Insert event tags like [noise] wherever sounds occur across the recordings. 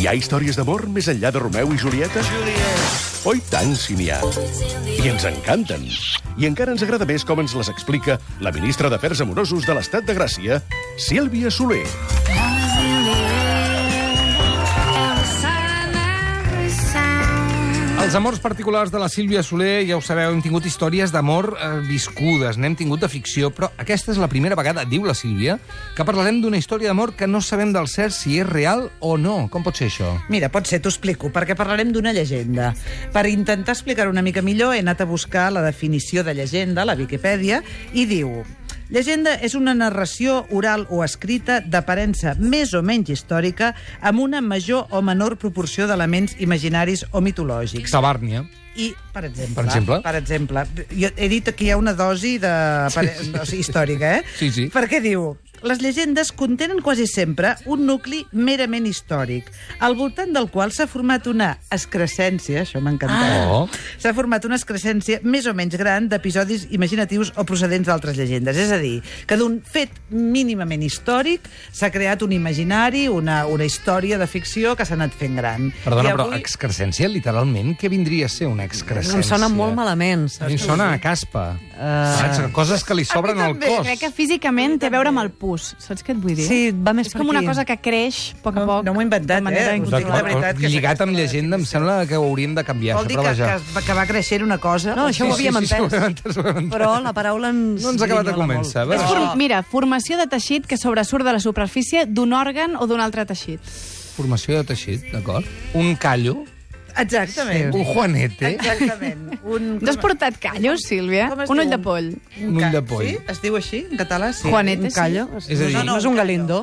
Hi ha històries d'amor més enllà de Romeu i Julieta? Oi tant, si n'hi ha. I ens encanten. I encara ens agrada més com ens les explica la ministra d'Afers Amorosos de l'Estat de Gràcia, Sílvia Soler. Els amors particulars de la Sílvia Soler, ja ho sabeu, hem tingut històries d'amor eh, viscudes, n'hem tingut de ficció, però aquesta és la primera vegada, diu la Sílvia, que parlarem d'una història d'amor que no sabem del cert si és real o no. Com pot ser això? Mira, pot ser, t'ho explico, perquè parlarem d'una llegenda. Per intentar explicar una mica millor, he anat a buscar la definició de llegenda a la Viquipèdia i diu... Llegenda és una narració oral o escrita d'aparença més o menys històrica amb una major o menor proporció d'elements imaginaris o mitològics. Tabàrnia. I, per exemple... Per exemple? Per exemple, jo he dit que hi ha una dosi de... Sí. o sigui, històrica, eh? Sí, sí. Perquè diu... Les llegendes contenen quasi sempre un nucli merament històric, al voltant del qual s'ha format una excrescència, això m'encanta, Ah. Oh. s'ha format una excrescència més o menys gran d'episodis imaginatius o procedents d'altres llegendes. És a dir, que d'un fet mínimament històric s'ha creat un imaginari, una, una història de ficció que s'ha anat fent gran. Perdona, I però excrescència, literalment, què vindria a ser una excrescència? Em sona molt malament. A mi em sona a caspa. Saps? Coses que li sobren al també, cos. Crec que físicament té a veure amb el pus, saps què et vull dir? Sí, va més és com per una aquí. cosa que creix a poc a No- poc. no m'ho he inventat, de manera eh? Us dic incontrolable. la veritat que lligat s'ha amb quedat llegenda, em sembla que ho hauríem de canviar, Vol dir això, que, però vaja. que, que va creixent una cosa? No, això ho Sí, sí, havíem sí, sí, ho havíem entès, ho havíem entès, entès. però la paraula ens... No ens acaba de grinyola molt. convèncer. a És veure. form... Mira, formació de teixit que sobresurt de la superfície d'un òrgan o d'un altre teixit. Formació de teixit, d'acord? Un callo, Exactament. un juanete... Exactament. [laughs] Un... No has portat callos, Sílvia? Com es Un diu? ull de poll. Un ull de poll. Sí? Es diu així, en català? Sí. Juanete, Un callo? És a dir- No, no, és un galindo.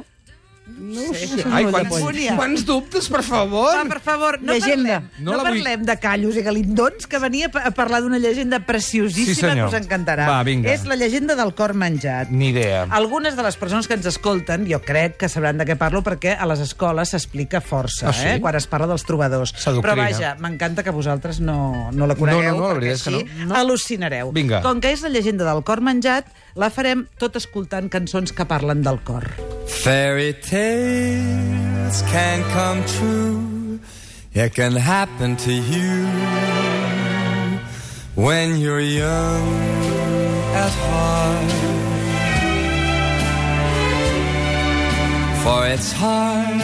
Ai, eh? quants, Angúnia. quants dubtes, per favor! Va, Ah, per favor, no Llegenda. parlem, No no la vull- parlem de callos i galindons, que venia a parlar d'una llegenda Sí, preciosíssima senyor. que us encantarà. Va, vinga. És la llegenda del cor menjat. Ni idea. Algunes de les persones que ens escolten, jo crec que sabran de què parlo, perquè a les escoles s'explica força, Ah, sí? eh? quan es parla dels trobadors. S'adoctrina. Però vaja, m'encanta que vosaltres no, no la conegueu, No, no, no, la perquè veritat és que així no. No. al·lucinareu. Vinga. Com que és la llegenda del cor menjat, la farem tot escoltant cançons que parlen del cor. Fairy tales can come true. It can happen to you when you're young at heart. For it's hard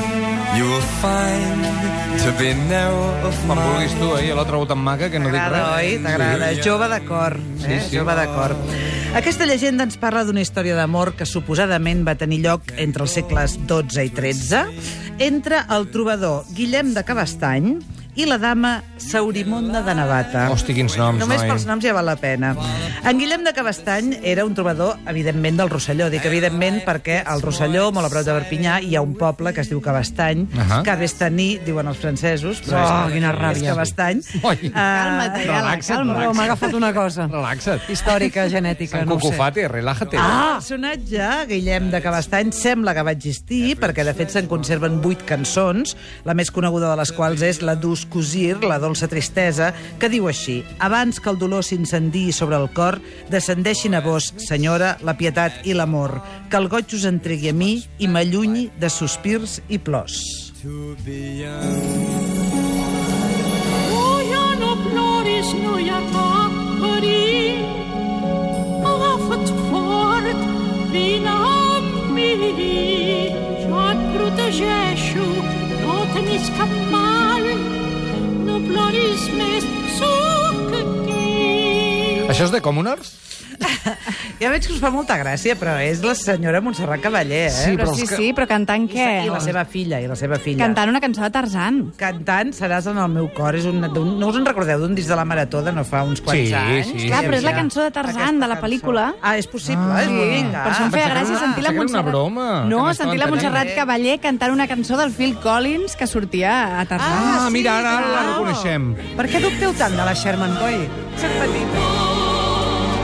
you will find to be narrow of Quan mind. vulguis tu, eh? I l'altre tan maca que no dic res. T'agrada, oi? T'agrada. Sí. Jove de cor. Eh? Sí, sí. Jove de cor. Aquesta llegenda ens parla d'una història d'amor que suposadament va tenir lloc entre els segles XII i XIII entre el trobador Guillem de Cabestany i la dama Saurimonda de Navata. Hosti, quins noms, Només noi. pels noms ja val la pena. En Guillem de Cabestany era un trobador, evidentment, del Rosselló. Dic evidentment perquè al Rosselló, molt a prop de Perpinyà, hi ha un poble que es diu Cabestany, Ahà. que Bestany, diuen els francesos, però Oh, és, quina és ràbia. Cabestany. Oi. Eh, Calma't, regala, Relaxa't, calma. Però m'ha agafat una cosa. Relaxa't. Històrica, genètica, Sant no ho sé. Cucufate, relájate. El personatge, Guillem de Cabestany, sembla que va existir, perquè de fet se'n conserven vuit cançons, la més coneguda de les quals és la Dus Cosir, la dolça tristesa, que diu així Abans que el dolor s'incendiï sobre el cor, descendeixin a vos, senyora, la pietat i l'amor, que el goig us entregui a mi i m'allunyi de sospirs i plors. To be young. No hi ha no ploris, no hi ha cap perill. Agafa't fort, vine amb mi. Jo et protegeixo, no tenis cap mal. No ploris més, sóc aquí. Això és de Comunars? Ja veig que us fa molta gràcia, però és la senyora Montserrat Cavaller, eh? Sí, Però però sí, és que- sí, però cantant què? I la seva filla, i la seva filla. Cantant una cançó de Tarzan. cantant Seràs en el meu cor és un, d'un, no us en recordeu d'un disc de la Marató de no fa uns quants Sí, anys? sí, Clar, però és la Aquesta cançó de Tarzan, de la pel·lícula. Ah, és possible, ah, és bonica. Ah, Per això em feia Pensava que gràcia era una- sentir la pensava que era Montserrat. una broma, No, que no sentir la estava Montserrat entenent. Cavaller cantant una cançó del Phil Collins que sortia a Tarzan. Ah, mira, ara, ara la clar. reconeixem. Per què dubteu tant de la Sherman Coy?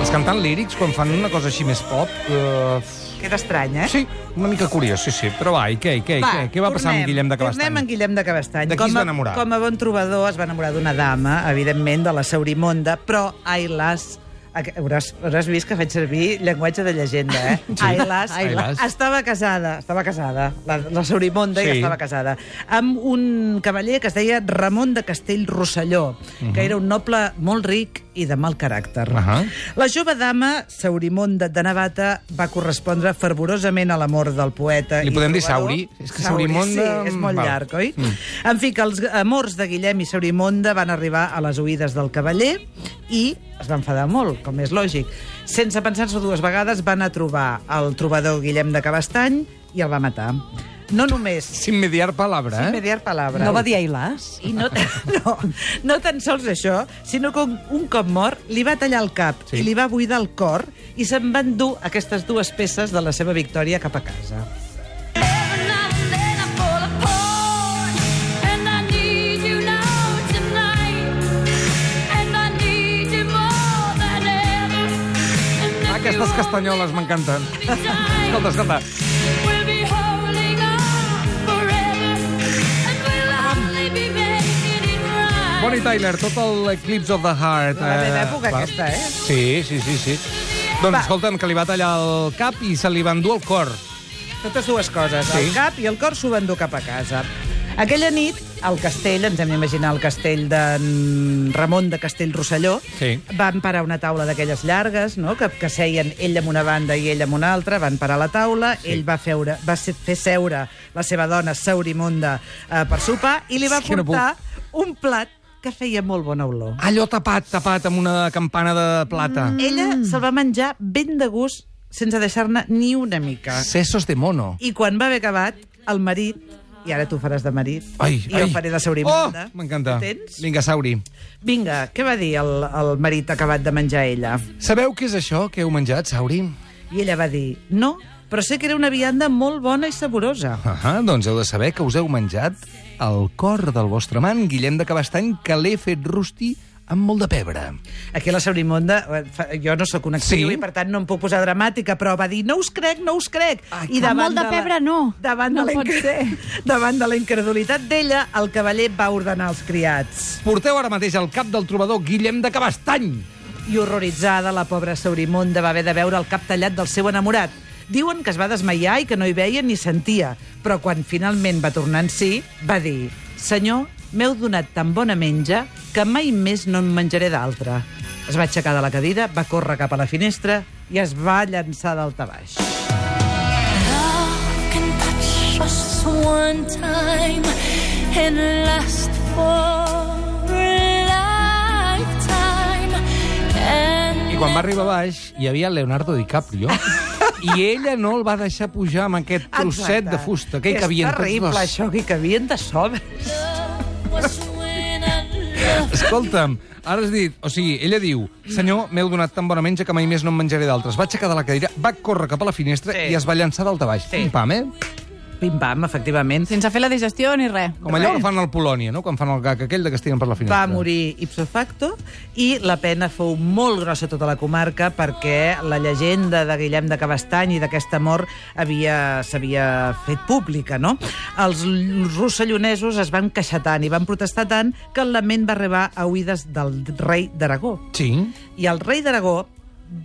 Els cantant lírics, quan fan una cosa així més pop... Eh... Que estrany, eh? Sí, una mica curiós, sí, sí. Però va, i què, i què, i què? Què va passar tornem, amb Guillem de Tornem Cabestany? amb Guillem de Cabestany. De qui Com es va a- enamorar? Com a bon trobador es va enamorar d'una dama, evidentment, de la Saurimonda, però, ai las, Ac- Hauràs, hauràs vist que faig servir llenguatge de llegenda, eh? Sí. Ailas, Ai, las. Estava casada, estava casada, la, la Saurimonda sí. Sí. ja estava casada, amb un cavaller que es deia Ramon de Castell Rosselló, uh -huh. que era un noble molt ric i de mal caràcter. Uh Mhm. Ahà. La jove dama, Saurimonda de Navata, va correspondre fervorosament a l'amor del poeta. Li i podem dir trobador. Sauri? És que Eh, Sauri, Saurimonda- Sí, és molt Val. llarg, oi? Mm. En fi, que els amors de Guillem i Saurimonda van arribar a les oïdes del cavaller i es va enfadar molt, com és lògic. Sense pensar-s'ho dues vegades, van a trobar el trobador Guillem de Cabestany i el va matar. No només... Sin mediar palabra, eh? Mediar palabra. No va dir Ailàs? I no, tan- [laughs] no, no tan sols això, sinó que un- un cop mort li va tallar el cap Sí. sí. i li va buidar el cor i se'n van dur aquestes dues peces de la seva victòria cap a casa. e E E Aquestes castanyoles m'encanten. Escolta, escolta. Bonnie Tyler, tot el Eclipse of the Heart. La meva eh, època, va. aquesta, eh? Sí, sí, sí, sí. Doncs Va. escolta'm, que li va tallar el cap i se li va endur el cor. Totes dues coses, sí. Sí. el cap i el cor s'ho van dur cap a casa. Aquella nit, al castell, ens hem d'imaginar el castell d'en Ramon de Castell Rosselló, Sí. van parar una taula d'aquelles llargues, no? que, que seien ell amb una banda i ell amb una altra, van parar la taula, sí. ell va, feure, va se- fer seure la seva dona, Saurimonda, eh, per sopar, i li va És que no puc. Ah. portar no un plat que feia molt bona olor. Allò tapat, tapat amb una campana de plata. Mm. Ella se'l va menjar ben de gust, sense deixar-ne ni una mica. Eh, Sesos de mono. I quan va haver acabat, el marit, i ara tu faràs de marit, Ai, i ai. jo faré de saurimonda. Oh, m'encanta. Ho tens? Vinga, Sauri. Vinga, què va dir el, el marit acabat de menjar ella? Sabeu què és això que heu menjat, Sauri? I ella va dir, no, però sé que era una vianda molt bona i saborosa. Ah, doncs heu de saber que us heu menjat el cor del vostre amant, Guillem de Cabestany, que l'he fet rostir amb molt de pebre. Aquí la Saurimonda, eh, fa- jo no sóc una actriu Sí? sí? i per tant no em puc posar dramàtica, però va dir, no us crec, no us crec. Ai, I clar. Amb molt de la- pebre, no. Davant, No de la pot incre- [laughs] davant de la incredulitat d'ella, el cavaller va ordenar els criats. Porteu ara mateix al cap del trobador Guillem de Cabestany. I horroritzada, la pobra Saurimonda va haver de veure el cap tallat del seu enamorat. Diuen que es va desmaiar i que no hi veia ni sentia, però quan finalment va tornar en si, va dir «Senyor, m'heu donat tan bona menja que mai més no en menjaré d'altra». Es va aixecar de la cadira, va córrer cap a la finestra i es va llançar d'alta baix. I quan va arribar a baix hi havia Leonardo [laughs] DiCaprio. I ella no el va deixar pujar amb aquest trosset Exacte. de fusta que hi cabien És terrible, tots dos. això, que hi cabien de sobres. Escolta'm, ara has dit... O sigui, ella diu, senyor, m'heu donat tan bona menja que mai més no en menjaré d'altres. Va aixecar de la cadira, va córrer cap a la finestra Sí. i es va llançar d'alta baix. Sí. Pim-pam, eh? Pim-pam, efectivament. Sense fer la digestió ni res. Com allò que fan al Polònia, no? Quan fan el gag aquell de que es tiren per la finestra. va morir ipso facto i la pena fou molt grossa a tota la comarca perquè la llegenda de Guillem de Cabestany i d'aquesta mort havia- s'havia fet pública, no? Els l- rossellonesos es van queixar tant i van protestar tant que el lament va arribar a oïdes del rei d'Aragó. Sí. I el rei d'Aragó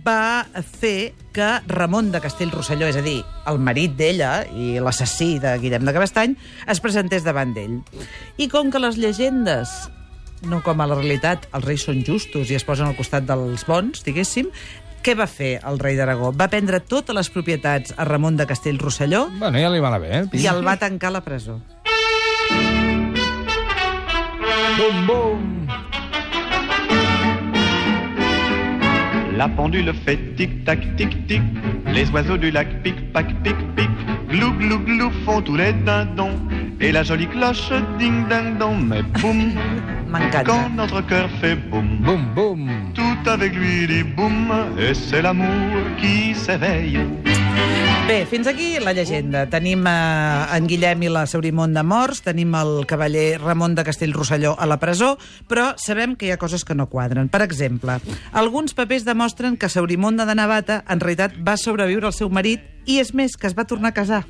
va fer que Ramon de Castell Rosselló, és a dir, el marit d'ella i l'assassí de Guillem de Cabestany, es presentés davant d'ell. I com que les llegendes, no com a la realitat, els reis són justos i es posen al costat dels bons, diguéssim, què va fer el rei d'Aragó? Va prendre totes les propietats a Ramon de Castell Rosselló Bueno, ja li va anar bé, eh? i el va tancar a la presó. Bum, bum. La pendule fait tic-tac, tic-tic. Les oiseaux du lac pic-pac, pic-pic. Glou, glou, glou font tous les dindons. Et la jolie cloche ding-ding-dong. Mais boum, M'encanta. quand notre cœur fait boum, Bum, bum. tout avec lui dit boum. Et c'est l'amour qui s'éveille. Bé, fins aquí la llegenda. Tenim eh, en Guillem i la Saurimonda morts, tenim el cavaller Ramon de Castell Rosselló a la presó, però sabem que hi ha coses que no quadren. Per exemple, alguns papers demostren que Saurimonda de Navata en realitat va sobreviure al seu marit i és més, que es va tornar a casar.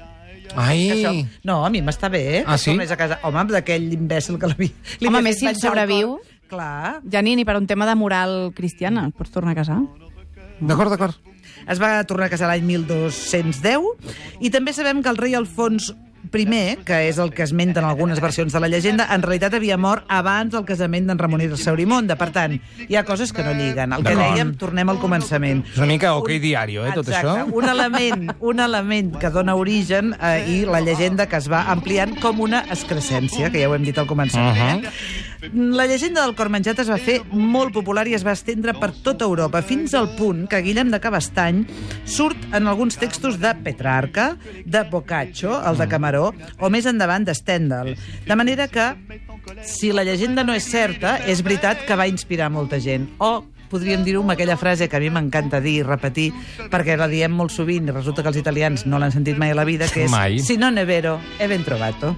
Ai. Això, no, a mi m'està bé, eh? que Ah, sí? tornés A casa. Home, d'aquell imbècil que l'havia... li Home, havia a més, fet si menjar el sobreviu. cor. Clar, Ja ni, ni per un tema de moral cristiana. Pots tornar a casar? D'acord, d'acord. Es va tornar a casar l'any 1210 i també sabem que el rei Alfons I, que és el que esmenten algunes versions de la llegenda, en realitat havia mort abans del casament d'en Ramon i Saurimonda. Per tant, hi ha coses que no lliguen. El que D'acord. dèiem, tornem al començament. És una mica ok diario, eh, tot Exacte, això. un element, un element que dona origen eh, i la llegenda que es va ampliant com una excrescència, que ja ho hem dit al començament. Uh-huh. eh? La llegenda del cor menjat es va fer molt popular i es va estendre per tota Europa, fins al punt que Guillem de Cabestany surt en alguns textos de Petrarca, de Boccaccio, el Mm. de Camaró, o més endavant de Stendhal. De manera que, si la llegenda no és certa, és veritat que va inspirar molta gent. O podríem dir-ho amb aquella frase que a mi m'encanta dir i repetir, perquè la diem molt sovint i resulta que els italians no l'han sentit mai a la vida, que és Mai. si no ne vero, e ben trovato.